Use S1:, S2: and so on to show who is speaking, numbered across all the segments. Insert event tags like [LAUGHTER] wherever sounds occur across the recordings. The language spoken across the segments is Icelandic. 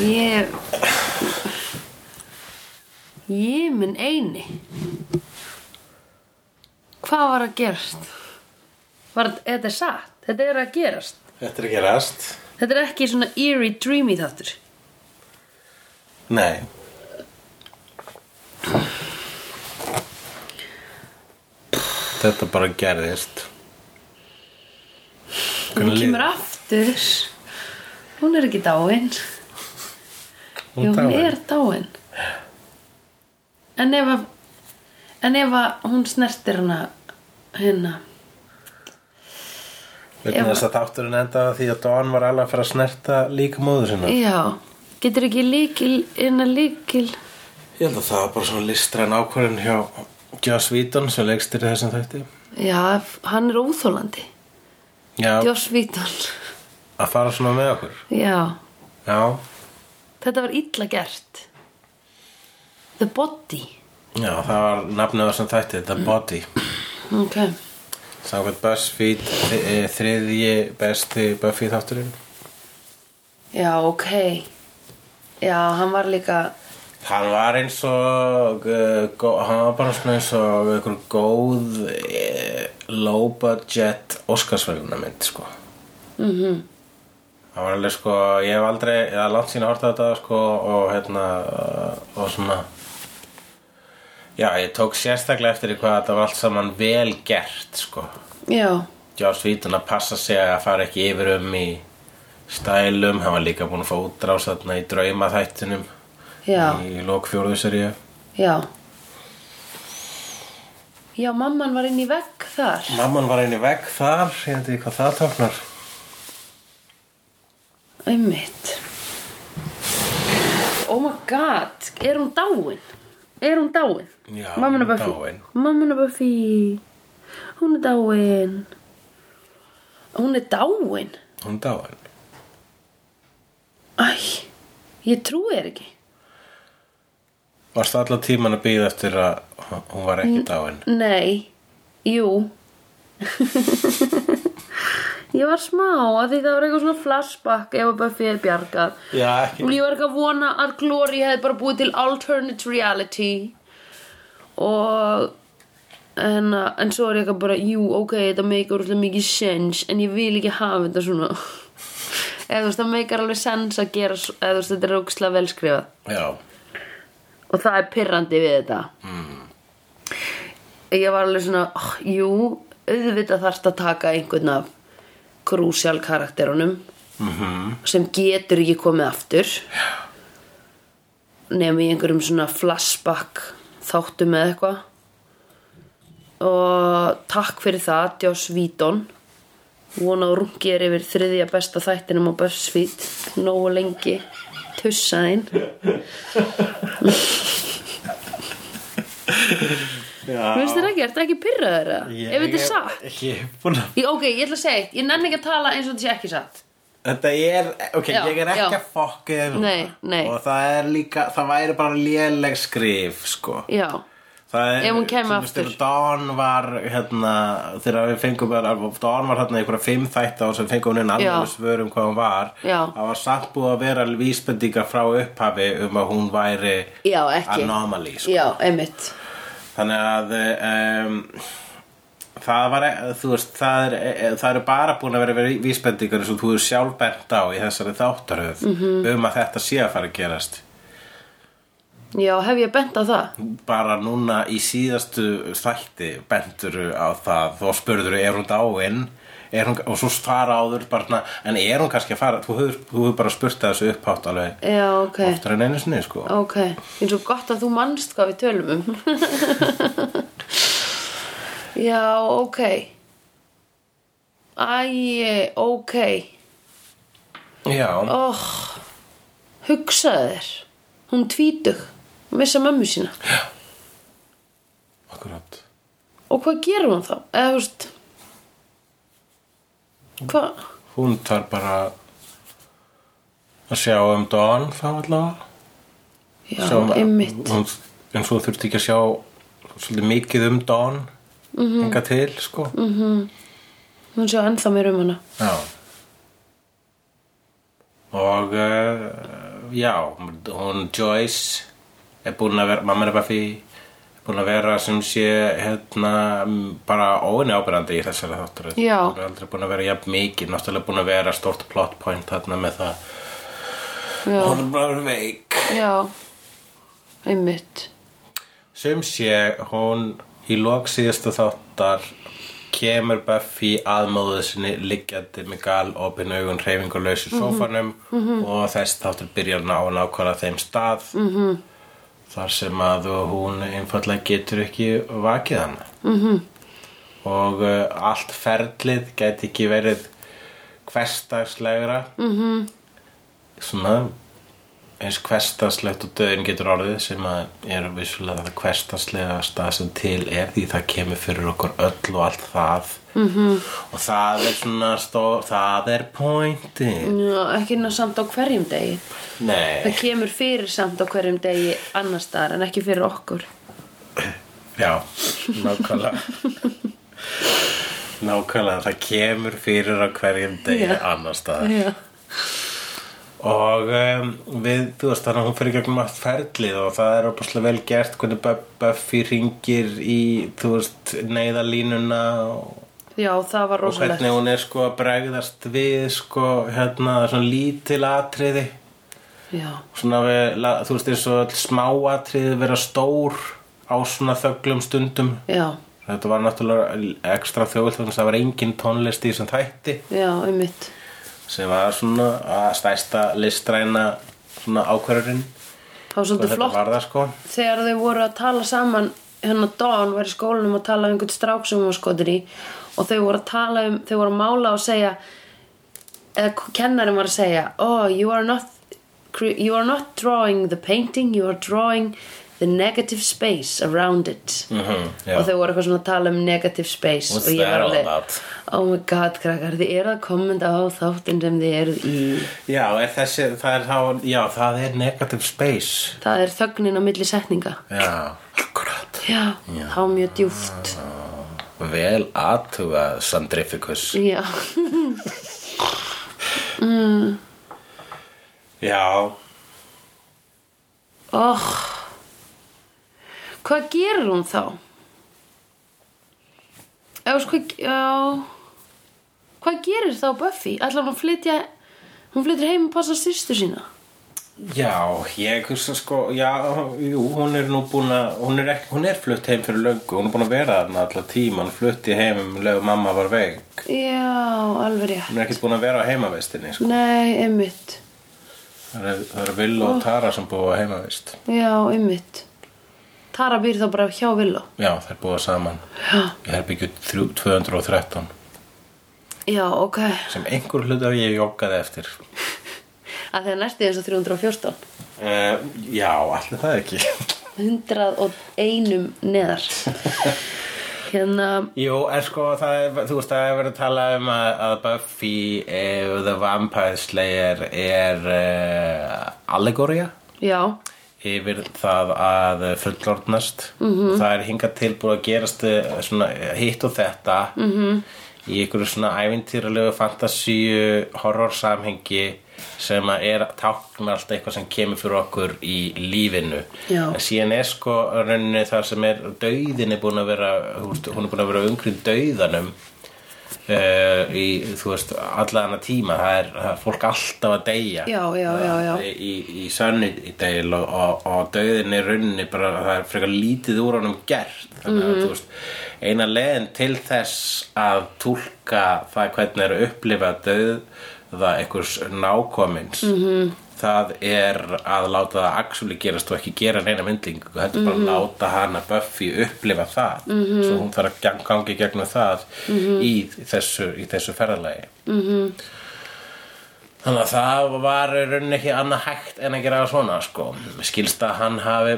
S1: er ég minn eini hvað var að gerast var, þetta er satt, þetta er að gerast
S2: Þetta er ekki rast
S1: þetta er ekki svona eerie dreamy þáttur
S2: Nei Þetta bara gerðist
S1: hún kemur
S2: Hvernig líður?
S1: aftur hún er ekki dáin Jú, hún
S2: dáin.
S1: er dáin en ef að en ef að hún snertir hana hérna
S2: Vegna þess að þátturinn endaði á því að Don var alveg að fara að snerta líka móður sinna
S1: Já, getur ekki líkil innan líkil
S2: Ég held að það var bara svona listræn ákvörðin hjá Joss Whedon sem leikst í þessum þætti
S1: Já, hann er óþólandi
S2: Já,
S1: Joss Vítón
S2: að fara svona með okkur
S1: [LAUGHS] Já,
S2: Já,
S1: þetta var illa gert The Body
S2: já það var nafnið á þessum þætti The Body
S1: Ok,
S2: Samkvæmt BuzzFeed þi- eh, þriðji besti Buffy þátturinn
S1: já, ok Já, hann var líka
S2: Hann var eins og uh, gó, hann var bara svona eins og einhver góð uh, low budget Óskarsverðuna mynd sko -hmm. hann var alveg sko ég hef aldrei, eða langt sín að horta þetta sko og hérna eh, og svona já ég tók sérstaklega eftir í hvað þetta var allt saman vel gert sko
S1: Já,
S2: Joss Whedon að passa sig að fara ekki yfir um í stælum, hann var líka búin að fá útrás þarna í draumaþættinum
S1: já,
S2: í lok fjórðu seríu
S1: já Já, mamman var inn í vegg þar
S2: Mamman var einu vegg þar, ég veit ekki hvað það tóknar
S1: Einmitt Oh my god, er hún dáin? Er hún dáin?
S2: Já,
S1: Mamman er
S2: hún er
S1: Buffy
S2: dáin.
S1: Mamman er Buffy Hún er dáin Hún er dáin
S2: Hún dáin
S1: Æ, ég trúi þér ekki
S2: Varstu allan tíman að býða eftir að hún var
S1: Mm.
S2: ekki dáin
S1: Nei, jú [LAUGHS] Ég var smá að því það var eitthvað svona flashback ef að Buffy er bjargað
S2: Já,
S1: Og ég var ekki að vona að Glory hefði bara búið til alternate reality og en, en svo er ég eitthvað bara jú, ok, þetta meikar úrlega mikið sense en ég vil ekki hafa þetta svona eða þú veist, það meikar alveg sense að gera s- eða þú veist, þetta er ógislega velskrifað
S2: Já,
S1: og það er pirrandi við þetta mm. ég var alveg svona oh, jú, auðvitað þarft að taka einhvern af krúsjál karakterunum -hmm. sem getur ekki komið aftur nefnum í einhverjum svona flashback þáttum eða eitthvað og takk fyrir það Joss Vítón vona og rungir yfir þriðja besta þættinum á BuzzFeed nógu lengi tussaðinn Mér finnst þér ekki, ertu ekki pyrraður eða? Ef þetta er satt?
S2: Ég er búin að
S1: Ég, ok, ég ætla að segja eitt, ég nenni ekki að tala eins og þetta sé ekki satt.
S2: Þetta er, ok,
S1: Já,
S2: ég er ekki
S1: já.
S2: að fokka þér núna.
S1: Nei, nei.
S2: Og það er líka, það væri bara léleg skrif, sko
S1: Já,
S2: Það er,
S1: Ef hún kæmi
S2: þú veist,
S1: aftur.
S2: þegar Dawn var, hérna, þegar við fengum bara, Dawn var hérna í einhverja fimm þætt á sem fengum hún inn alveg
S1: Já.
S2: svör um hvað hún var.
S1: Já.
S2: Það var samt búið að vera vísbendingar frá upphafi um að hún væri
S1: Já, ekki.
S2: anomaly, sko.
S1: já, einmitt.
S2: Þannig að, um, það var, e- þú veist, það, er, e- það eru bara búin að vera vísbendingar eins og þú er sjálf bent á í þessari þáttaröð
S1: Mhm.
S2: -hmm. um að þetta sé að fara að gerast.
S1: Já, hef ég bent á það?
S2: bara núna í síðastu þætti benduru á það þá spurður er hún dáin er hún, og svo svara áður bara svona, en er hún kannski að fara þú hefur, þú hefur bara spurt að þessu upphátt alveg
S1: Já, ok.
S2: oftar en einu sinni sko
S1: Ok, eins og gott að þú manst hvað við tölum um. [LAUGHS] já, ok. Æ, ok.
S2: já,
S1: Oh, hugsaðu þér. Hún tvítug, missa mömmu sína.
S2: akkurat
S1: Og hvað gerir hún þá? Eða, þú veist, hvað?
S2: hún tar bara að sjá um Dawn þá allavega
S1: Já,
S2: Sjá um-
S1: einmitt.
S2: hún, en svo þurfti ekki að sjá svolítið mikið um Dawn mm
S1: Mhm.
S2: -hmm. hinga til sko -hmm.
S1: Hún sjá ennþá mér um hana.
S2: Já Og uh, já, hún Joyce er búin að vera, mamma er Buffy er búin að vera sem sé hérna, m, bara óinni ábyrrandi í þessari þáttur
S1: Já.
S2: hún er aldrei búin að vera jafn mikið, náttúrulega búin að vera stort plot point þarna með það
S1: já,
S2: hún er bara veik
S1: já einmitt
S2: sem sé, hún í lok síðasta þáttar kemur Buffy að móðu sinni liggjandi með gal opin augun hreyfingarlaus í sófanum og þess þáttur byrjar ná nákvæmlega þeim stað -hmm. þar sem að hún einfallega getur ekki vakið hana mm -hmm. og uh, allt ferlið gæti ekki verið hverstagslegra mm -hmm. svona eins hverstagslegt og döðin getur orðið sem að er vissulega það hverstagslega stað sem til er því það kemur fyrir okkur öll og allt það -hmm. og það er svona stó, það er pointi
S1: já, ekki ná samt á hverjum degi
S2: nei,
S1: Mm. það kemur fyrir samt á hverjum degi annars staðar en ekki fyrir okkur
S2: já, nákvæmlega nákvæmlega það kemur fyrir á hverjum degi
S1: Já.
S2: annars staðar
S1: já,
S2: og um, við, þú veist, þannig að hún fyrir gegnum allt ferlið og það er opaslega vel gert hvernig Bu- Buffy ringir í, þú veist, neyðalínuna og,
S1: já það var
S2: og
S1: rosalegt
S2: hvernig hún er sko að bregðast við sko, hérna, svona lítil atriði
S1: já,
S2: svona við, la- þú veist, eins og öll smá atriði vera stór á svona þöglum stundum
S1: já,
S2: þetta var náttúrulega ekstra þjóðvilt þannig að það var engin tónlist í þessum þætti
S1: já, einmitt
S2: sem var svona að stæsta listræna svona ákvörðurinn
S1: það var svolítið flott
S2: var það sko
S1: þegar þau voru að tala saman hérna Dawn var í skólanum að tala um einhvern strák sem hún var skotir í og þau voru að tala um, þau voru að mála og segja eða k- kennarinn var að segja oh, you are not cre- you are not drawing the painting you are drawing the negative space around it
S2: Mhm, já.
S1: og þau voru eitthvað svona að tala um negative space
S2: What's
S1: og ég var
S2: that all
S1: alveg
S2: about?
S1: oh my god krakkar, þið eru að kommenta á þáttinn sem þið eru í
S2: Já, er þessi, það er þá, já, það er negative space.
S1: það er þögnin á milli setninga
S2: Já, akkurat.
S1: já, þá mjög djúft
S2: Ah. Vel aðtuga Sandrificus.
S1: já,
S2: Já,
S1: oh hvað gerir hún þá? eða sko, já hvað gerir þá Buffy? allar hún flytja hún flyttir heim og passa sýstu sína
S2: já, ég hugsa sko, já, jú, hún er nú búin að, hún er, ekki, hún er flutt heim fyrir löngu, hún er búin að vera þarna alltaf tíma, hún flutti heim um leið og mamma var veik.
S1: já, alveg rétt
S2: Hún er ekkert búin að vera á heimavestinni, sko.
S1: nei, einmitt
S2: Það eru er Vill og Tara sem búið á heimavest.
S1: já, einmitt Tara býr þá bara hjá Villó
S2: Já, þær búið saman.
S1: já,
S2: Ég er byggjum 213
S1: já, ok
S2: sem einhver hlut af ég joggaði eftir.
S1: að þegar næstu þess að 314
S2: Uh, já, allir það ekki.
S1: 101 neðar hérna
S2: [LAUGHS] Jú, en sko, það er, þú veist, það er verið að tala um að, að Buffy eh, The Vampire Slayer er eh, allegória
S1: já,
S2: yfir það að fullorðnast
S1: Mhm.
S2: -hmm. og það er hingað tilbúið að gerast eh, svona, eh, hitt og þetta
S1: Mhm.
S2: -hmm. í einhverju svona ævintýralegu fantasíu horror samhengi sem að er táknar alltaf eitthvað sem kemur fyrir okkur í lífinu
S1: Já.
S2: en síðan er sko rauninni það sem er dauðin er búin að vera þú veist, hún er búin að vera umgrið dauðanum Uh, í, þú veist, alla hana tíma það er, það er fólk alltaf að deyja
S1: Já, já, já, já.
S2: í, í sönni í deil og, og, og döðin er rauninni bara það er frekar lítið úr honum gert þannig
S1: Mhm.
S2: að þú veist eina leiðin til þess að túlka það hvernig er að upplifa döð það einhvers nákomins
S1: Mhm.
S2: -hmm. það er að láta það actually gerast og ekki gera neina myndlingu þetta er bara
S1: Mhm.
S2: að láta hana Buffy upplifa það -hmm. svo hún þarf að gang- gangi gegnum það
S1: Mhm.
S2: -hmm. í, þessu, í þessu ferðalagi Þannig að það var í rauninni ekki annað hægt en að gera það svona sko. Skilst að hann hafi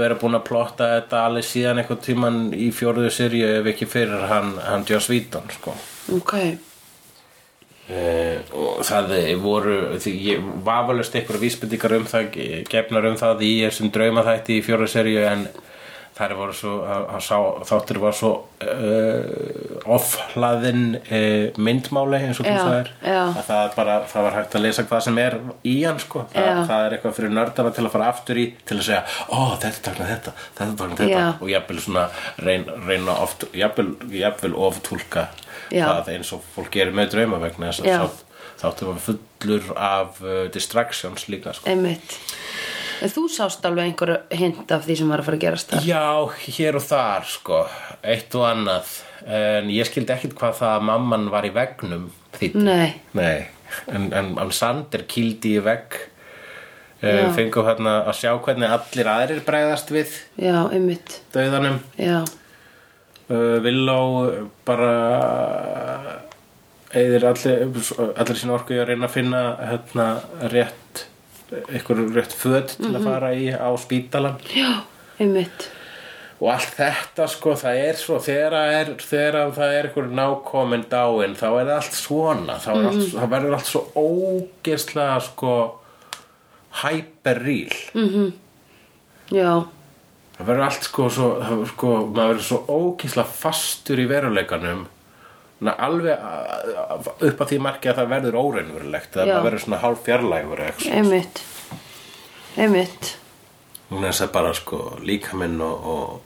S2: verið búin að plotta þetta alveg síðan einhvern tíman í fjórðu sirju ef ekki fyrir hann, hann Joss Whedon sko.
S1: ok
S2: Uh, og það voru því ég vafalust einhverja vísbendingar um það gefnar um það í þessum draumaþætti í fjóra serju en þær voru svo hann- hann sá, þáttur var svo uh, offhlaðin uh, myndmáli eins og þú
S1: Já,
S2: sagðir
S1: já.
S2: að það, bara, það var hægt að lesa hvað sem er í hann sko, það,
S1: Já.
S2: það er eitthvað fyrir nördana til að fara aftur í til að segja, ó þetta er takna þetta þetta er takna þetta
S1: Já.
S2: og jafnvel svona reyn, reyna oft, jafnvel, jafnvel oftúlka
S1: Já.
S2: það eins og fólk gerir með drauma vegna þess að
S1: Já.
S2: þátt- þáttur var fullur af uh, distractions líka sko.
S1: einmitt En þú sást alveg einhverju hint af því sem var að fara að gerast það
S2: Já, hér og þar sko, eitt og annað en ég skildi ekkit hvað það að mamman var í vegnum þitt
S1: Nei,
S2: Nei, en, en, en Sander kýldi í vegg
S1: Já.
S2: uh, fengu hérna að sjá hvernig allir aðrir bregðast við
S1: já, einmitt
S2: dauðanum
S1: Já,
S2: uh, Villó bara eðir allir, eh, allir sín orku í að reyna að finna hérna rétt ykkur rétt föt til að fara í á spítalan
S1: já, einmitt
S2: og allt þetta sko það er svo þegar það er, þegar að það er ykkur nákomin dáin þá er það allt svona þá, mm allt, þá verður allt svo ógeðslega sko hyperreal
S1: Já,
S2: það verður allt sko, svo, það verður sko maður verður svo ógeðslega fastur í veruleikanum Na, alveg a- a- upp að því marki að það verður óreynverulegt það
S1: Já.
S2: maður verður svona hálf fjarlægur eða eitthvað.
S1: einmitt Einmitt
S2: hún er þess að bara sko líkaminn og, og,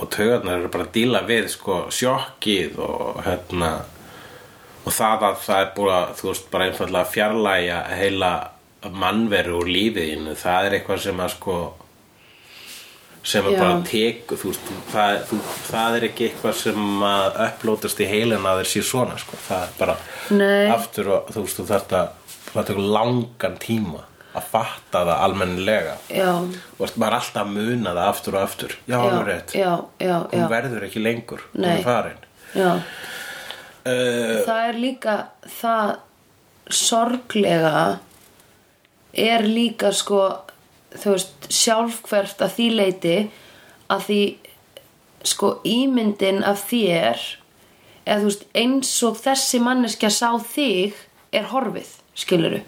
S2: og taugarnar eru bara að díla við sko sjokkið og hérna og það að það er búið að þú veist bara einfallega að fjarlægja heila mannveru úr lífiðinu það er eitthvað sem að sko sem að
S1: Já.
S2: bara teku þú veist, það, þú, það er ekki eitthvað sem að upplótast í heilin að þeir sé svona sko, það er bara
S1: Nei.
S2: aftur og þú veist þú þarft að það tekur langan tíma að fatta það almennilega
S1: Já,
S2: og maður er alltaf að muna það aftur og aftur já,
S1: já,
S2: alveg rétt,
S1: já, já,
S2: hún
S1: já,
S2: verður ekki lengur hún
S1: Nei.
S2: er farin
S1: já.
S2: uh,
S1: það er líka það sorglega er líka sko þú veist sjálfhvert að því leiti að því sko ímyndin af þér eða þú veist eins og þessi manneskja sá þig er horfið skiluru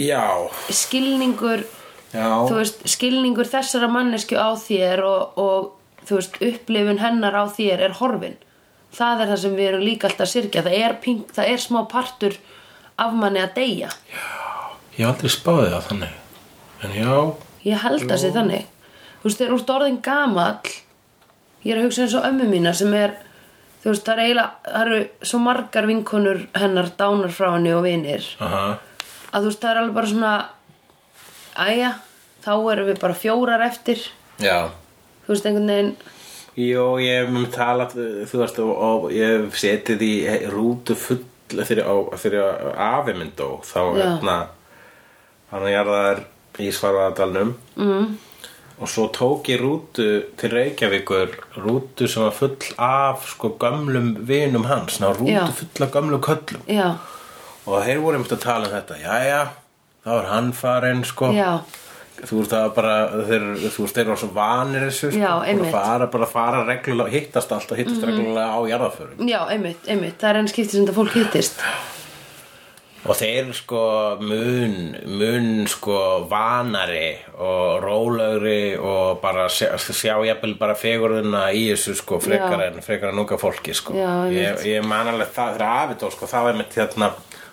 S2: já,
S1: skilningur
S2: já
S1: þú veist, skilningur þessara mannesku á þér og, og þú veist, upplifun hennar á þér er horfin. Það er það sem við erum líka alltaf að syrkja. Það er, pink, það er smá partur af manni að deyja.
S2: ég hef aldrei spáði það þannig en já,
S1: Ég held að sé þannig. Þú veist, þegar úr orðin gamall, ég er að hugsa eins og ömmu mína sem er, þú veist, það er eiginlega, það eru svo margar vinkonur hennar dánar frá henni og vinir.
S2: aha
S1: Að þú veist, það er alveg bara svona, æja, þá erum við bara fjórar eftir.
S2: já,
S1: Þú veist, einhvern veginn,
S2: jú, ég hef mun talað þú veist, og, og ég hef setið í rútu fulla þegar, á, þegar afi minn dó þá
S1: Já.
S2: hérna hann er jarðar í svarfaðadalnum mm.
S1: Mhm.
S2: og svo tók ég rútu til Reykjavíkur rútu sem var full af sko gömlum vinum hans ná rútu
S1: Já.
S2: full af gömlum köllum
S1: já,
S2: og þeir voru einmitt að tala um þetta jæja, þá er hann farinn sko
S1: já.
S2: þú veist það var bara þeir, þú veist þeir var svo vanir þessu sko,
S1: Já,
S2: Voru
S1: einmitt. Mhm.
S2: fara, bara fara reglulega hittast alltaf, hittast reglulega á jarðaförum
S1: Já, einmitt, einmitt, það er enn skipti sem þetta fólk hittist
S2: Og þeir sko mun, mun sko vanari og rólegri og bara sjá, sjá jafnvel bara fegurðina í þessu sko frekar
S1: Já.
S2: en frekar en unga fólki sko.
S1: Já,
S2: ég,
S1: einmitt.
S2: ég man alveg það þegar afið og sko það var mitt hérna,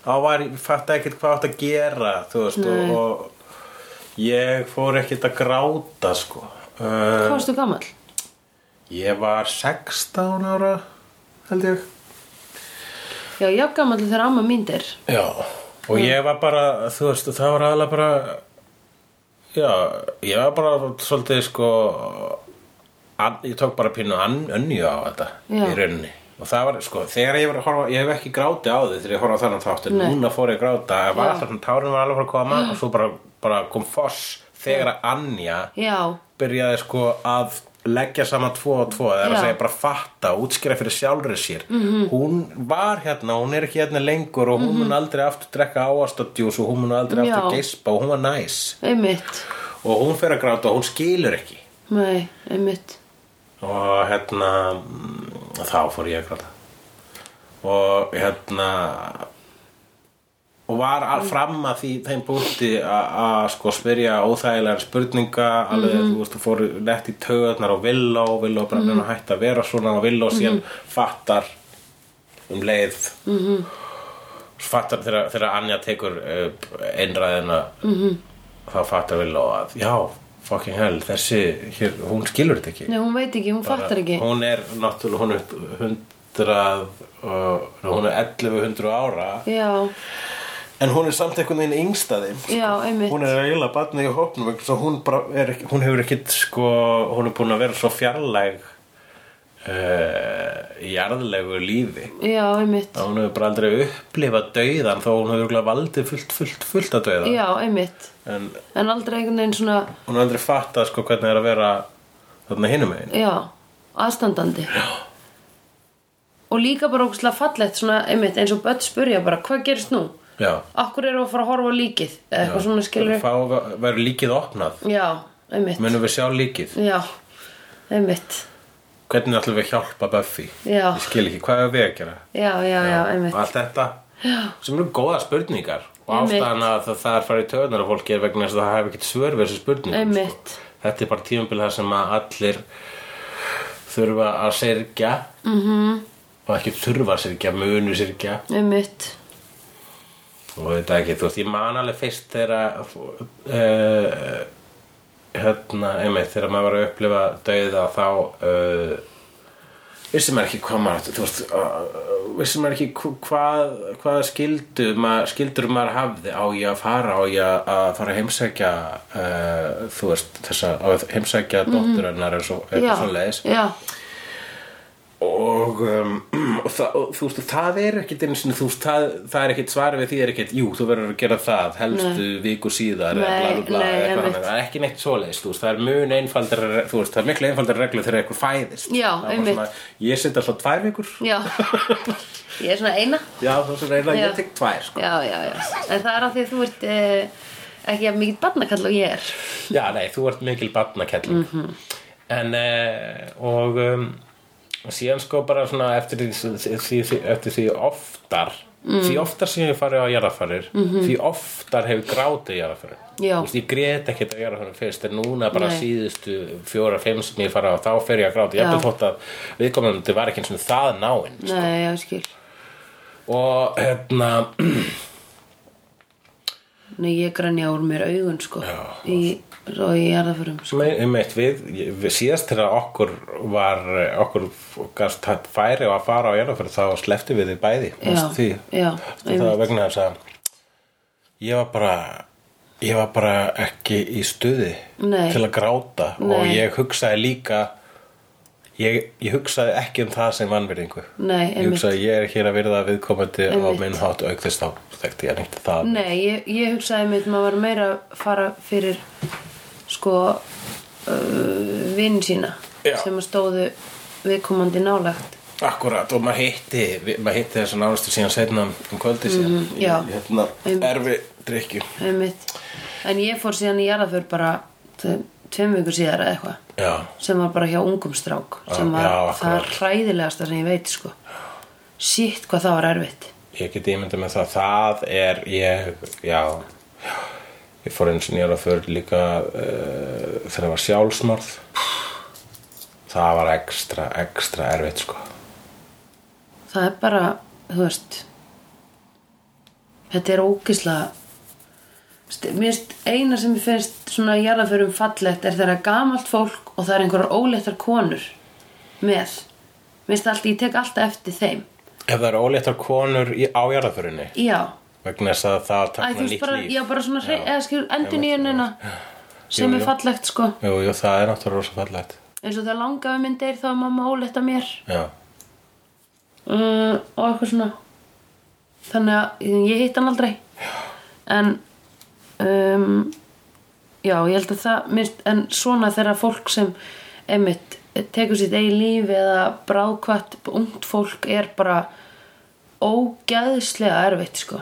S2: þá var, ég fatt ekkert hvað átt að gera þú veist og, og ég fór ekkert að gráta sko.
S1: Hvað
S2: Uh,
S1: varstu gamall?
S2: ég var 16 ára held ég.
S1: Já, já, gamall þegar amma mín dyr
S2: Já, og ég var bara, þú veist, það var aðalega bara, já, ég var bara svolítið sko, an, ég tók bara pínu an, önnju á þetta
S1: Já.
S2: í rauninni. Og það var, sko, þegar ég var að horfa, ég hef ekki gráti á því þegar ég horfa á þannig þátt, en
S1: Nei.
S2: núna fór ég að gráta, en var
S1: Já.
S2: alltaf svona, tárin var alveg bara að koma og svo bara, bara kom foss þegar að Anja
S1: Já,
S2: byrjaði sko að leggja saman tvo og tvo það er
S1: Já.
S2: að
S1: Mhm.
S2: segja bara fatta, útskýra fyrir sjálfri sér -hmm. hún var hérna, hún er ekki hérna lengur og hún mun aldrei aftur drekka áastadjús og hún mun aldrei
S1: Já.
S2: aftur geispa og hún var næs
S1: einmitt
S2: og hún fer að gráta og hún skilur ekki
S1: Nei, einmitt
S2: og hérna mm, þá fór ég að gráta og hérna og var all, fram að því þeim punkti a- að sko spyrja óþægilegar spurninga alveg þú veist, þú fór nett í töðnar og vill og vill og bara mm -hmm. hætt að vera svona og vill og síðan fattar um leið mm -hmm. fattar þegar, þegar Anja tekur upp einræðina mm -hmm. þá fattar vill og að já, fucking hell, þessi hér, hún skilur þetta ekki
S1: Nei, hún veit ekki, hún fattar ekki
S2: hún er náttúrulega hún er upp 100 og, hún er 1100 ára
S1: Já,
S2: en hún er samt einhvern veginn yngstaði
S1: já, einmitt
S2: hún er eiginlega batnið í hópnum vegna þess að hún, bara er, ekki- hún hefur ekkit sko, hún er búin að vera svo fjarlæg uh, jarðlegu lífi
S1: Já, einmitt
S2: að hún hefur bara aldrei upplifað dauðan þó hún hefur örugglega valdið fullt, fullt, fullt að dauða
S1: Já, einmitt
S2: en
S1: En aldrei einhvern veginn svona
S2: hún hefur aldrei fattað sko, hvernig það er að vera þarna hinum einn
S1: Já, aðstandandi Já Og líka bara ógustlega fallegt svona, einmitt, eins og börn spurja bara, hvað gerist nú?
S2: já
S1: Akkur eru að fara að horfa á líkið eða eitthvað svona skilur
S2: Fá, verður líkið opnað
S1: Já, einmitt
S2: munum við sjá líkið
S1: Já, einmitt
S2: hvernig ætlum við að hjálpa Buffy
S1: Já.
S2: ég skil ekki, hvað er við að gera
S1: Já, já, já,
S2: og
S1: einmitt
S2: allt þetta já. sem eru góða spurningar og
S1: Einmitt.
S2: ástæðan að það, það er farið í töðunar og fólki er vegna þess að það hefur ekkert svör við þessu spurningum
S1: Einmitt.
S2: þetta er bara tímabil þar sem að allir þurfa að syrgja mm
S1: Mhm.
S2: -hmm. og ekki þurfa að syrgja munu syrgja
S1: Einmitt
S2: og þetta ekki, þú veist, ég man alveg fyrst þegar uh, hérna, einmitt, þegar maður var að upplifa dauða þá uh, vissi maður ekki hvað maður þú veist, uh, vissi maður ekki hv- hvað, hvað skildu maður, skildur maður hafði á ég að fara á ég að fara að heimsækja uh, þú veist, þessa að heimsækja mm -hmm. dótturinnar eins og
S1: Já,
S2: eitthvað svoleiðis
S1: já,
S2: og, um, [CLEARS THROAT] og, það, og þú veist, það er ekkit einu sinni, þú veist, það, það er ekkit svar við því er ekkit, jú, þú verður að gera það helstu viku síðar eða
S1: Nei,
S2: bla, bla, bla,
S1: nei,
S2: eitthvað
S1: einmitt.
S2: annað. það er ekki neitt svoleiðis, þú veist, það er mun einfaldar þú veist, það er miklu einfaldar reglu þegar eitthvað fæðist
S1: Já,
S2: Það var
S1: einmitt.
S2: svona, ég seti alltaf tvær vikur
S1: já Ég er svona eina
S2: já, það er svona eiginlega,
S1: Já.
S2: ég tek tvær sko.
S1: Já, já, já En það er af því að þú ert eh, ekki að mikið barnakall og ég er
S2: já, nei, þú ert mikil barnakelling
S1: Mhm.
S2: en eh, og um, og síðan sko bara svona eftir því, því, því, eftir því oftar
S1: Mm.
S2: því oftar sem ég hef farið á jarðarfarir því oftar hefur grátið jarðarfarir
S1: Mhm. Já.
S2: Vist, ég grét ekkert á jarðarfarir fyrst en núna bara
S1: Nei.
S2: síðustu fjóra, fimm sem ég hef farið á þá fer ég að gráta, ég
S1: Já.
S2: hefði þótt að viðkomandi var ekki eins og það náinn
S1: Nei, já, skil
S2: og hérna
S1: Nei, ég grænja úr mér augun, sko
S2: Já.
S1: Í, Svo í jarðaförum, sko
S2: Me- Einmitt, við, við síðast þegar okkur var eh, okkur gast haft færi á að fara á jarðarför þá slefti við þið bæði
S1: Já,
S2: því,
S1: já,
S2: það var vegna þess að ég var bara ég var bara ekki í stuði
S1: Nei.
S2: til að gráta og
S1: Nei.
S2: ég hugsaði líka ég, ég hugsaði ekki um það sem vannverðingu
S1: Nei,
S2: ég
S1: einmitt
S2: hugsaði ég er hér að virða viðkomandi á
S1: Einmitt.
S2: minn hátt auk þess þá þekkti ég neitt það
S1: Nei, ég, ég hugsaði mitt maður var meira að fara fyrir sko uh, vinn sína
S2: Já.
S1: sem að stóðu viðkomandi nálægt
S2: Akkurat og maður hitti við- maður hitti þessan árastu síðan setna um kvöldi síðan í-
S1: Mhm, já. Um.
S2: í hérna,
S1: Einmitt.
S2: erfi drykju
S1: einmitt. En ég fór síðan í jarðaför bara tve- tveim vikur síðar eða eitthvað
S2: Já,
S1: sem var bara hjá ungum strák
S2: Já,
S1: sem var,
S2: Ah, já,
S1: það
S2: akkurat.
S1: er hræðilegasta sem ég veit sko Sitt hvað það var erfitt
S2: ég get ímyndað með það það er ég, já ég fór eins og nýjara fyrir líka uh, þegar það var sjálfsmorð það var ekstra, ekstra erfitt sko
S1: Það er bara, þú veist Þetta er ógislega St- Mér finnst eina sem mér finnst svona jarðaförum fallegt er þegar gamalt fólk og það er einhverjar óleittar konur með Mér finnst allt, ég tek alltaf eftir þeim
S2: Ef það eru óléttar konur í, á jarðaförinni
S1: Já,
S2: vegna þess að það
S1: Æ, þú
S2: takna
S1: veist
S2: nýtt
S1: bara,
S2: líf
S1: já, bara svona hrein,
S2: Já.
S1: eða skil endur
S2: Einmitt,
S1: nýjunina sem
S2: Jú,
S1: er
S2: jú.
S1: fallegt sko
S2: Jú, jú, það er náttúrulega rosa fallegt
S1: eins og það langaði minn deyr þá er mamma óletta mér
S2: Já,
S1: uh, og eitthvað svona þannig að ég hitt hann aldrei en um, já, ég held að það minnst, en svona þegar fólk sem einmitt tekur sitt eigin líf eða bráðkvætt ungt fólk er bara ógæðslega erfitt sko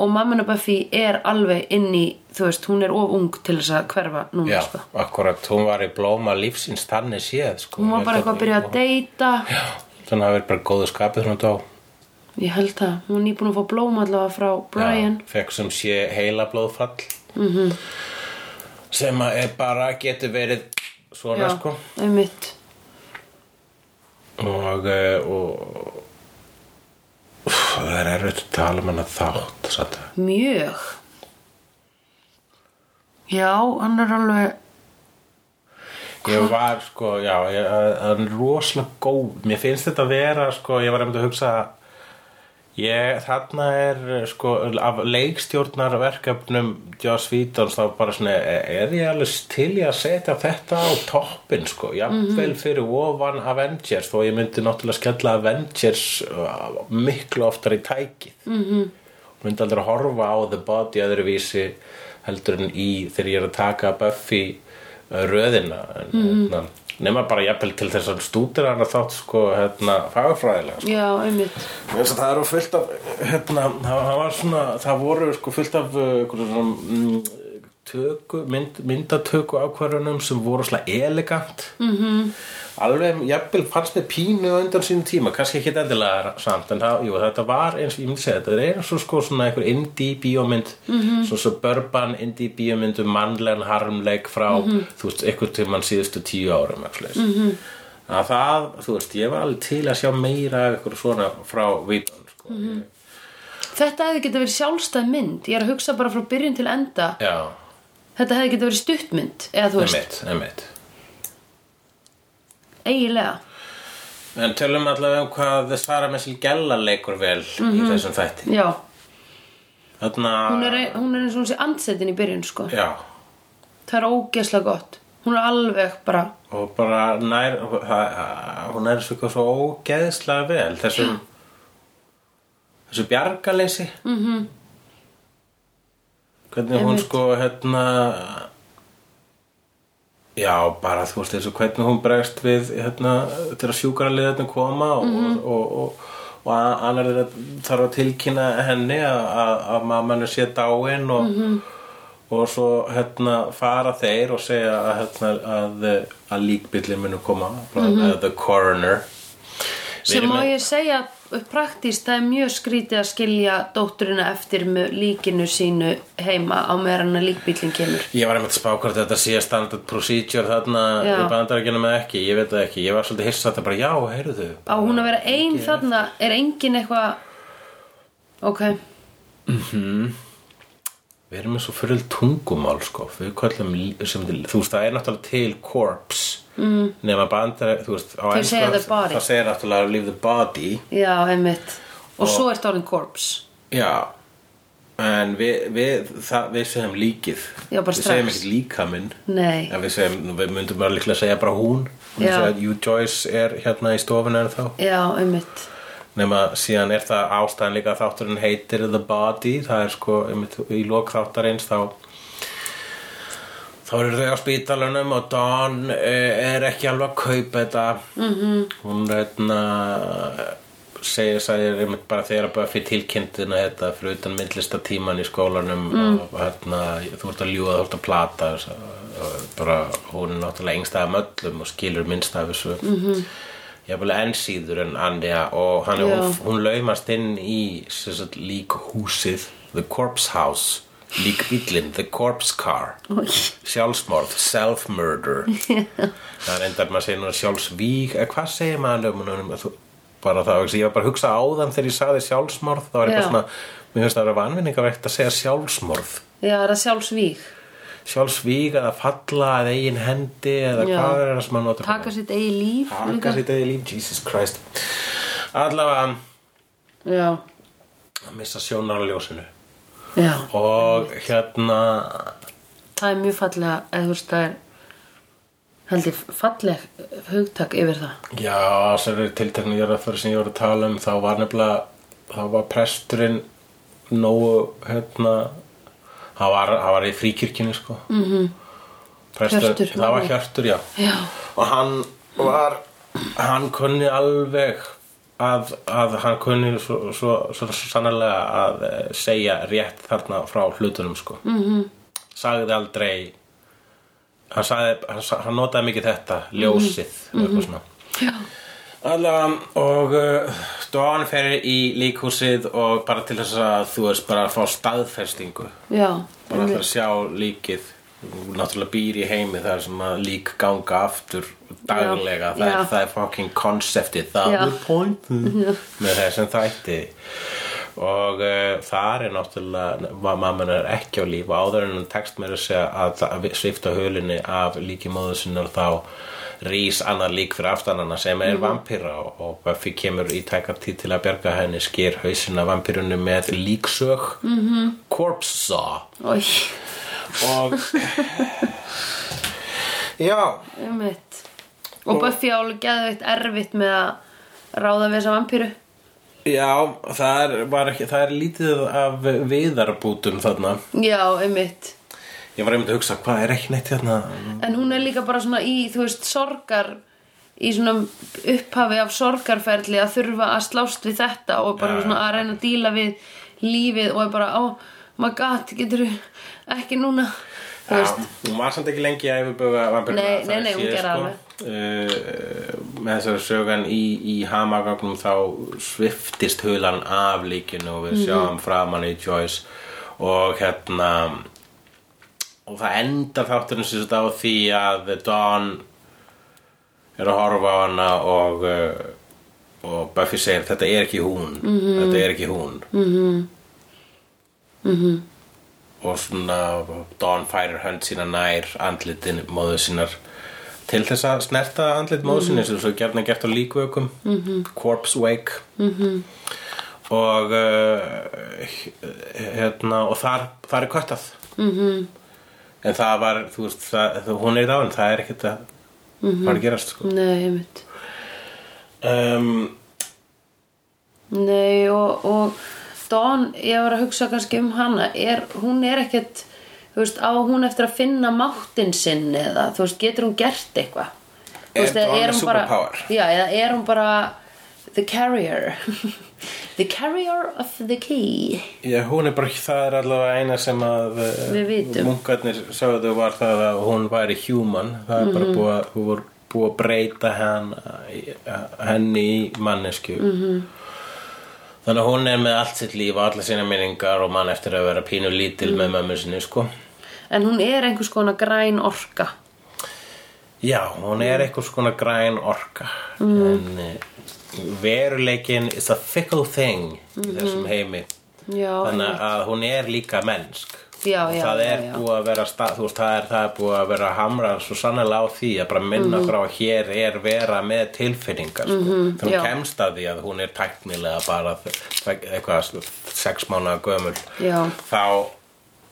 S1: og mamman og Buffy er alveg inn í þú veist, hún er of ung til þess að hverfa núna
S2: já
S1: sko
S2: akkurat, hún var í blóma lífsins þannig séð sko
S1: hún var bara eitthvað að byrja að deyta
S2: Þannig að það verið bara góðu skapið þegar hún dó
S1: Ég held það, hún er nýbúin að fá blóm allavega frá Brian
S2: fekk sem sé heila blóðfall mm -hmm. sem að er bara getur verið svona sko
S1: einmitt
S2: og, eh, og Úff, það er erfitt að tala um hana þátt satt.
S1: Mjög Já, hann er alveg
S2: ég var sko já, ég, hann er rosalega góð mér finnst þetta að vera sko ég var einmitt að hugsa ég, þarna er sko af leikstjórnarverkefnum Joss Vítons þá bara svona e, er ég alveg til ég að setja þetta á toppin sko, jafnvel fyrir ofan Avengers þó ég myndi náttúrulega skella Avengers uh, miklu oftar í tækið mm -hmm. myndi aldrei horfa á The Body öðruvísi heldur en í þegar ég er að taka Buffy uh, röðina en, hérna, nema bara jafnvel til þess að stútir hana þátt sko hérna, fagfræðilega
S1: Já, einmitt
S2: Þess að það eru fullt af hérna, það, það var svona, það voru sko fullt af uh, einhverjum svona, mm, töku, mynd, myndatöku ákvarðunum sem voru svona elegant -hmm. alveg, jafnvel fannst mér pínu á undan sínum tíma, kannski ekki endilega samt, en það, jú, þetta var eins og ég myndi segja, þetta er eins og sko svona einhver indie bíómynd, -hmm. svona suburban indie bíómynd um mannlegan harmleik frá, þú veist, einhvern tímann síðustu tíu árum, ekki mm -hmm að það, þú veist, ég var alveg til að sjá meira af ykkur svona frá vítan sko.
S1: Mhm. Þetta hefði geta verið sjálfstæð mynd Ég er að hugsa bara frá byrjun til enda
S2: já,
S1: Þetta hefði geta verið stuttmynd Eða þú veist,
S2: emitt, emitt
S1: eiginlega
S2: en tölum allavega um hvað Sara Messil Gella leikur vel í þessum þætti
S1: Já,
S2: þarna,
S1: Mhm. hún er, hún er eins og hún sé andsetin í byrjun sko.
S2: já,
S1: Það er ógeðslega gott Hún er alveg bara
S2: og bara nær hún er svo, eitthvað svo ógeðslega vel þessum þessu bjargaleysi -hmm. hvernig hún
S1: Einmitt.
S2: sko hérna já bara þú veist þessu hvernig hún bregst við hérna til að sjúkraliðarnir koma og, og, og, og a- annar þeirra þarf að tilkynna henni að- að að mamman er sé dáin og, og svo hérna fara þeir og segja að, hérna, að, að líkbillin munu koma bara, uh, the coroner Við
S1: Mhm. sem
S2: erum
S1: má
S2: með-
S1: ég segja praktíst, það er mjög skrítið að skilja dótturina eftir með líkinu sínu heima á meðan að líkbílinn kemur
S2: Ég var einmitt að spá hvort þetta sé standard procedure þarna
S1: Já.
S2: í bandarækjunum eða ekki, ég veit það ekki, ég var svolítið hissa að það bara, já, heyrðu
S1: á hún að vera ein þarna er engin eitthvað ok,
S2: við erum með svo fyrir tungumál, sko, við kallum, lí- sem, til- þú veist, það er náttúrulega til corpse, mm. nema bandarækjunum, þú veist, á
S1: segja the body.
S2: það segir náttúrulega leave the body,
S1: já, einmitt og, svo er orðin korps
S2: já, en við, við, það, við segjum líkið,
S1: Já, bara
S2: við
S1: strax.
S2: segjum ekki líkaminn,
S1: nei,
S2: en við segjum, við myndum bara líklega að segja bara hún, hún
S1: Já.
S2: segja, you Joyce er hérna í stofinu en þá.
S1: já, einmitt
S2: nema síðan er það ástæðan líka að þátturinn heitir The Body það er sko einmitt, í lok þáttarins þá þá eru þau á spítalunum og Dawn eh, er ekki alveg að kaupa þetta -hmm. hún veitna segir sæðir einmitt bara þegar að Buffy tilkynntina þetta fyrir utan myndlista tíman í skólanum mm. og hérna þú ert að ljúga þú ert að plata þess að- að bara hún er náttúrulega engst af möllum og skilur minnst af þessu mm -hmm. jafnvel enn síður en Anja og hann,
S1: Já.
S2: hún, hún laumast inn í sem sagt, líkhúsið The Corpse House líkbíllinn, The Corpse Car
S1: Oj.
S2: sjálfsmorð,
S1: [LAUGHS]
S2: self-murder það er endar maður að segja núna sjálfsvík eða hvað segir maður um, um, um, bara það, ég var bara að hugsa áðan þegar ég sagði sjálfsmorð, þá var ég
S1: Já.
S2: bara svona mér finnst það að vera vanvinningavægt að segja sjálfsmorð
S1: já, það er sjálfsvíg
S2: sjálfsvík eða falla eða eigin hendi eða
S1: Já.
S2: hvað er það sem maður notar
S1: taka sitt eigi líf
S2: taka
S1: líka.
S2: sitt eða líf, Jesus Christ allavega
S1: já,
S2: að missa sjónar á ljósinu
S1: já,
S2: og hérna
S1: það er mjög fallega eða þú veist, það er held ég falleg hugtak yfir það
S2: Já, þessari tilteknu jörðarföru sem ég voru að tala um þá var nefnilega þá var presturinn nógu hérna hann var, hann var í fríkirkjunni sko mm -hmm. Prestur,
S1: Hjörtur,
S2: það var
S1: Nói.
S2: hjörtur, já
S1: já,
S2: og hann var hann kunni alveg að, að hann kunni svo, svo, svo, svo sannlega að eh, segja rétt þarna frá hlutunum sko mm -hmm. sagði aldrei hann, sagði, hann, sa- hann notaði mikið þetta ljósið mm -hmm. svona
S1: já,
S2: Alla, og uh, Dawn fer í líkhúsið og bara til þess að þú veist bara að fá staðfestingu
S1: já,
S2: bara til að sjá líkið Hún náttúrulega býr í heimi þar sem að lík ganga aftur daglega
S1: Já,
S2: það,
S1: já.
S2: Er, það er fucking konceptið það
S1: Já.
S2: er pointin með þessum þætti og uh, þar er náttúrulega ma- mamman er ekki á líf og áður en hún tekst mér að segja að, það- að svifta hölinni af líki móður sinnar þá rís annar lík fyrir aftan hana sem
S1: Mhm.
S2: er vampíra og, og Buffy kemur í tæka tíð til að berga henni sker hausina vampírunni með líksög mm
S1: Mhm.
S2: -hmm. corpse saw
S1: oi,
S2: og já
S1: um og Buffy álega geðveitt erfitt með að ráða við þessa vampíru
S2: já, það er, var ekki, það er lítið af viðarbútum þarna
S1: já, um
S2: ég var einmitt að hugsa hvað er ekki neitt hérna? þarna
S1: en hún er líka bara svona í, þú veist, sorgar í svona upphafi af sorgarferli að þurfa að slást við þetta og bara
S2: Já,
S1: svona að reyna að díla við lífið og er bara, ó, my god, getur ekki núna þú
S2: Já,
S1: veist,
S2: hún var samt ekki lengi að yfirböga vampirina
S1: Nei, nei, nei, hún gerði alveg.
S2: uh, sko. Með þessari sögan í, í hamagögnum þá sviftist hulan af líkinu og
S1: Mhm.
S2: við sjáum framan í Joyce og hérna og það endar þátturinn sem þetta á því að Dawn er að horfa á hana og uh, og Buffy segir þetta er ekki hún
S1: Mhm.
S2: þetta er ekki hún mm -hmm. og svona Dawn færir hönd sína nær andlitin móðu sínar til þess að snerta andlit móðu sína eins og svo gerðna gert á líkvökum mm -hmm. corpse wake mm -hmm. og uh, hérna og þar, þar er köttað mm -hmm. en það var þú veist, það, þú- hún er í dáin það er ekkert að mm -hmm. fara að gerast sko.
S1: nei, einmitt
S2: um,
S1: Nei og, og Dawn, ég var að hugsa kannski um hana er, hún er ekkert þú veist, á hún eftir að finna máttin sinn eða, þú veist, getur hún gert eitthvað Þú
S2: Er
S1: eða
S2: Eh, Dawn
S1: er
S2: með
S1: hún bara-
S2: superpower?
S1: Já, eða er hún bara the carrier [LAUGHS] the carrier of the key
S2: Já, hún er bara ekki, það er allavega eina sem að eh,
S1: Við vitum.
S2: munkarnir sagðu var það að hún væri human það er
S1: Mhm.
S2: bara búið að, hún voru búið að breyta hann, eh, henni í mannesku
S1: Mhm.
S2: -hmm. þannig að hún er með allt sitt líf og alla sína minningar og mann eftir að vera pínu lítil
S1: Mhm.
S2: með mömmu sinni sko
S1: en hún er einhvers konar græn orka
S2: Já, hún er
S1: Mhm.
S2: einhvers konar græn orka mm. en eh, veruleikin is a fickle thing
S1: Mhm.
S2: í þessum heimi
S1: Já,
S2: þannig að hún er líka mennsk
S1: Já,
S2: Og
S1: já,
S2: það er
S1: já, já.
S2: búið að vera stað, þú veist, það er, það er búið að vera að hamra svo sannlega á því að bara minna
S1: Mhm.
S2: okkur á að hér er vera með tilfinningar sko. mm -hmm, þannig
S1: já.
S2: hún kemst að því að hún er tæknilega bara þ- þ- eitthvað sko, sex mánuða gömul
S1: Já.
S2: þá,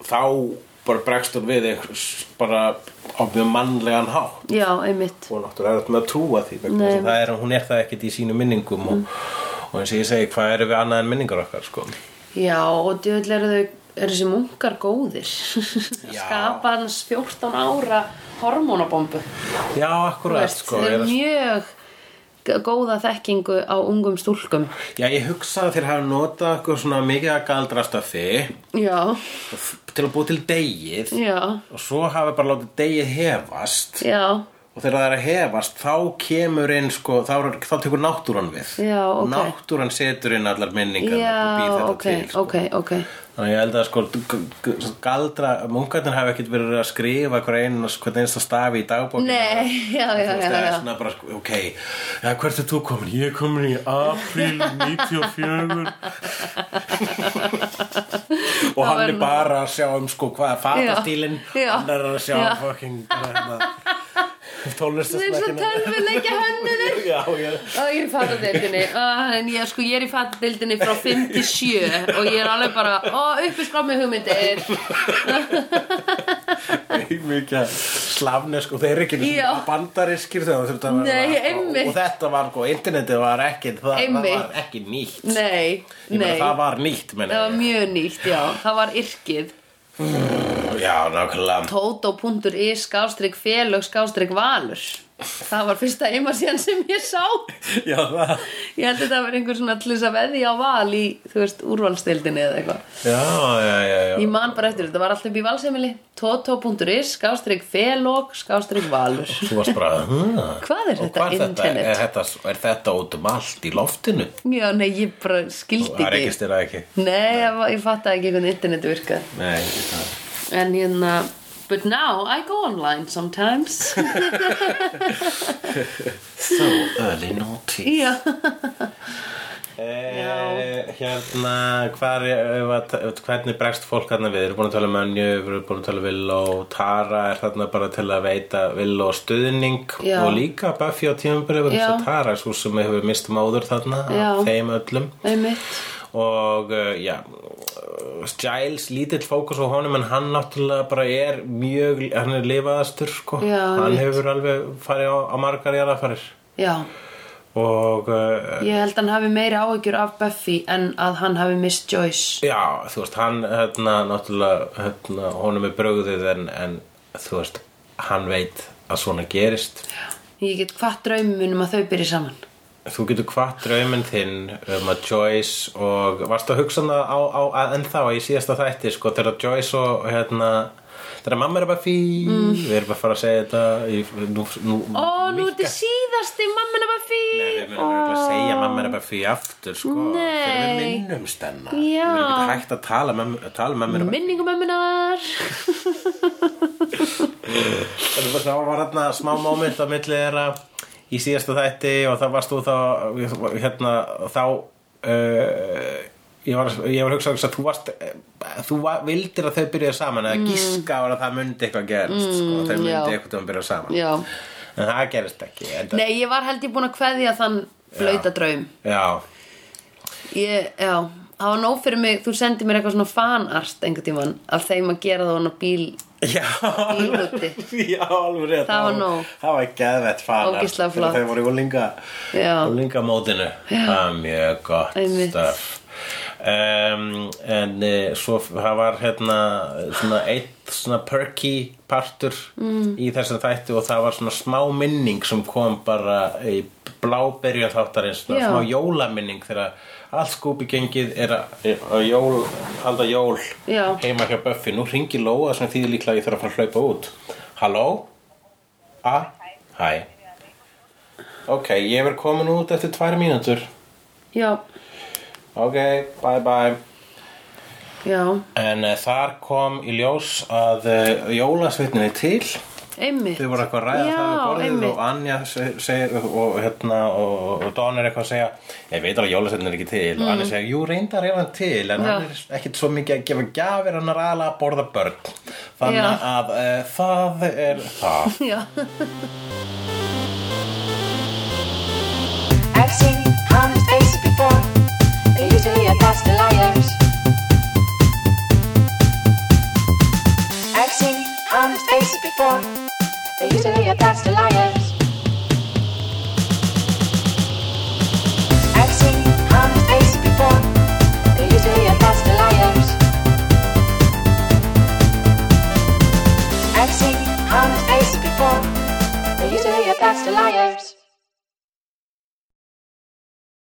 S2: þá bara bregst hún við einhvers- bara á mjög mannlegan hátt
S1: já, einmitt
S2: og náttúrulega er þetta með að trúa því vegna
S1: Nei. Mhm.
S2: þess að það er, hún er það ekkert í sínu minningum og, og eins og ég segi, hvað erum við annað en minningar okkar sko?
S1: Já, og djöðl eru þau eru þessi munkar góðir
S2: [LAUGHS] Já.
S1: skapa hans 14 ára hormónabombu
S2: já,
S1: Þú
S2: akkurat
S1: veist,
S2: sko,
S1: þeir
S2: ég,
S1: eru mjög g- góða þekkingu á ungum stúlkum
S2: já, ég hugsa að þeir hafa notað okkur svona mikið að galdrastafi
S1: já,
S2: til að búa til degið
S1: já,
S2: og svo hafa bara látið degið hefast
S1: já
S2: og þegar það er að hefast þá kemur inn sko, þá, er- þá tekur náttúran við
S1: Já, ok.
S2: náttúran setur inn allar minningar og býr
S1: já,
S2: þetta
S1: ok,
S2: til, sko.
S1: ok, ok
S2: Þannig að ég held að sko g- g- galdra, munkarnir hafa ekkert verið að skrifa hver einn og hvern einsta stafi í dagbókinu.
S1: nei, já, [LAUGHS] já, já,
S2: Það er
S1: já
S2: svona bara, sko, ok, ja, hvert er þú komin? Ég er komin í april
S1: [LAUGHS]
S2: 94 og hann er
S1: verður-
S2: bara að sjá um sko hvað er fatastílinn,
S1: Já, já,
S2: hann er að sjá
S1: já.
S2: um fucking
S1: það er svo
S2: tónlistasmekkinu.
S1: tölvuleikja
S2: [LAUGHS]
S1: hönnunir
S2: Já, já,
S1: Ó, ég er í [LAUGHS] fatadeildinni uh, En ég, sko, ég er í fatadeildinni frá 5 til 7 Og ég er alveg bara, ó, uppi skrámi hugmyndir
S2: mikið slavnesk og þeir eru ekki
S1: Já.
S2: bandariskir þegar það þurfti að
S1: Nei,
S2: vera
S1: einmitt.
S2: og, og þetta var sko, internetið var ekki það, það
S1: Einmitt.
S2: var ekki nýtt
S1: Nei,
S2: ég meina
S1: nei
S2: það var nýtt meina
S1: Það var
S2: ég.
S1: mjög nýtt, já Það var yrkið
S2: já, nákvæmlega
S1: Tóto.is skástrík félög skástrík valur það var fyrsta heimasíðan sem ég sá
S2: Já, það
S1: ég held að þetta var einhver svona til þess að veðja á val í, þú veist, úrvalstildinni eða eitthvað
S2: Já, já, já, já
S1: ég man bara eftir, þetta var alltaf upp í valsemili toto.is, skástrík felog skástrík valur
S2: Þú varst bara "Huh,
S1: Hvað er
S2: og
S1: þetta internet?"
S2: Er þetta, er þetta út um allt í loftinu?
S1: já, nei, ég bara skildi
S2: Það
S1: ekki
S2: rekist þér það ekki
S1: nei, ég, var- ég fatt ekki hvernig internet virkaði
S2: Nei, það
S1: en hérna But now I go online sometimes [LAUGHS]
S2: So early naughty
S1: Já,
S2: eh, Hérna, hvar, eh, vat- hvernig bregst fólk þarna við? Við erum búin að tala um önju, við erum búin að tala um vill og Tara er þarna bara til að veita vill og stuðning
S1: Já.
S2: og líka Buffy á tímabrifur
S1: Já.
S2: þess að Tara er svo sem hefur mist móður þarna
S1: Já.
S2: af þeim öllum
S1: einmitt
S2: og uh, já uh, Giles lítill fókus á honum en hann náttúrulega bara er mjög hann er lifaðastur sko
S1: Já,
S2: hann
S1: einmitt.
S2: hefur alveg farið á, á margar jarðafarir
S1: Já,
S2: og uh,
S1: ég held hann hafi meiri áhyggjur af Buffy en að hann hafi Miss Joyce
S2: já þú veist hann hérna náttúrulega hérna, honum er brugðið en, en þú veist hann veit að svona gerist
S1: Ég get hvað draumunum að þau byrja saman
S2: þú getur hvað drauminn þinn um að Joyce og varstu að hugsa það á, á, á ennþá í síðasta þætti sko þegar Joyce og hérna þegar mamma er bara fí við erum bara að fara að segja þetta í, nú, nú,
S1: Mm. Ó, nú er þetta síðasti mammin af Buffy
S2: Nei, við munum oh. að segja mamma er bara fyrir aftur sko, þegar við
S1: Nei.
S2: minnumst
S1: Já.
S2: hennar við erum ekki hægt að tala, mömmu- tala um mamma er bara
S1: Minningum mamminar
S2: Það var- það var hérna smá moment á milli þeirra í síðasta þætti og það varst þú þá hérna, þá uh, ég, var, ég var að hugsa að þú varst eh, þú var, vildir að þau byrjuðu saman eða gíska var að það myndi eitthvað gerist sko, þau myndi
S1: Mm. já.
S2: eitthvað að byrjuðu saman
S1: Já
S2: en það gerist ekki en,
S1: Nei, ég var held ég búin að kveðja þann blauta draum
S2: Já,
S1: Ég, já Það var nóg fyrir mig, þú sendir mér eitthvað svona fanart einhvern tímann af þeim að gera það hann á bíl
S2: Já,
S1: Bílrúti.
S2: [LAUGHS] já, alveg rétt
S1: Það var nóg.
S2: Það var geðvett fana
S1: Ógeðslega flott.
S2: Þegar þau voru í úlinga,
S1: Já.
S2: úlinga mótinu Það var mjög gott
S1: Einmitt.
S2: stöf um, En uh, svo f- það var hérna svona eitt svona perky partur mm. í þessum þætti og það var svona smá minning sem kom bara í bláberja þáttarins svona
S1: Já.
S2: smá jólaminning þegar allt skúpi gengið er að að jól, halda jól
S1: Já.
S2: heima hjá Buffy, nú ringi Lóa sem þýðir líklega að ég þarf að fara að hlaupa út Halló? A? Hæ Ok, ég verð komin út eftir tvær mínútur
S1: Já,
S2: Ok, bye bye
S1: já,
S2: En uh, þar kom í ljós að uh, jólasveitninni til
S1: einmitt
S2: Þau voru eitthvað að ræða
S1: já,
S2: það við borðið
S1: einmitt.
S2: og Anja segir seg, og, hérna, og, og Don er eitthvað að segja ég veit alveg að jólasveitin er ekki til og Anja segir, jú reyndar er hann til en hann
S1: Mm. Já.
S2: er ekkit svo mikið að gefa gjafir hann er alveg að borða börn þannig
S1: Já.
S2: að uh, það er það
S1: [LAUGHS] Já,
S3: I've seen honest faces before. They're usually a pass to liars. I've seen honest faces before. They're usually a pass to liars. I've seen honest faces before. They're usually a pass to liars. I've seen honest faces before. They're usually a pass to liars.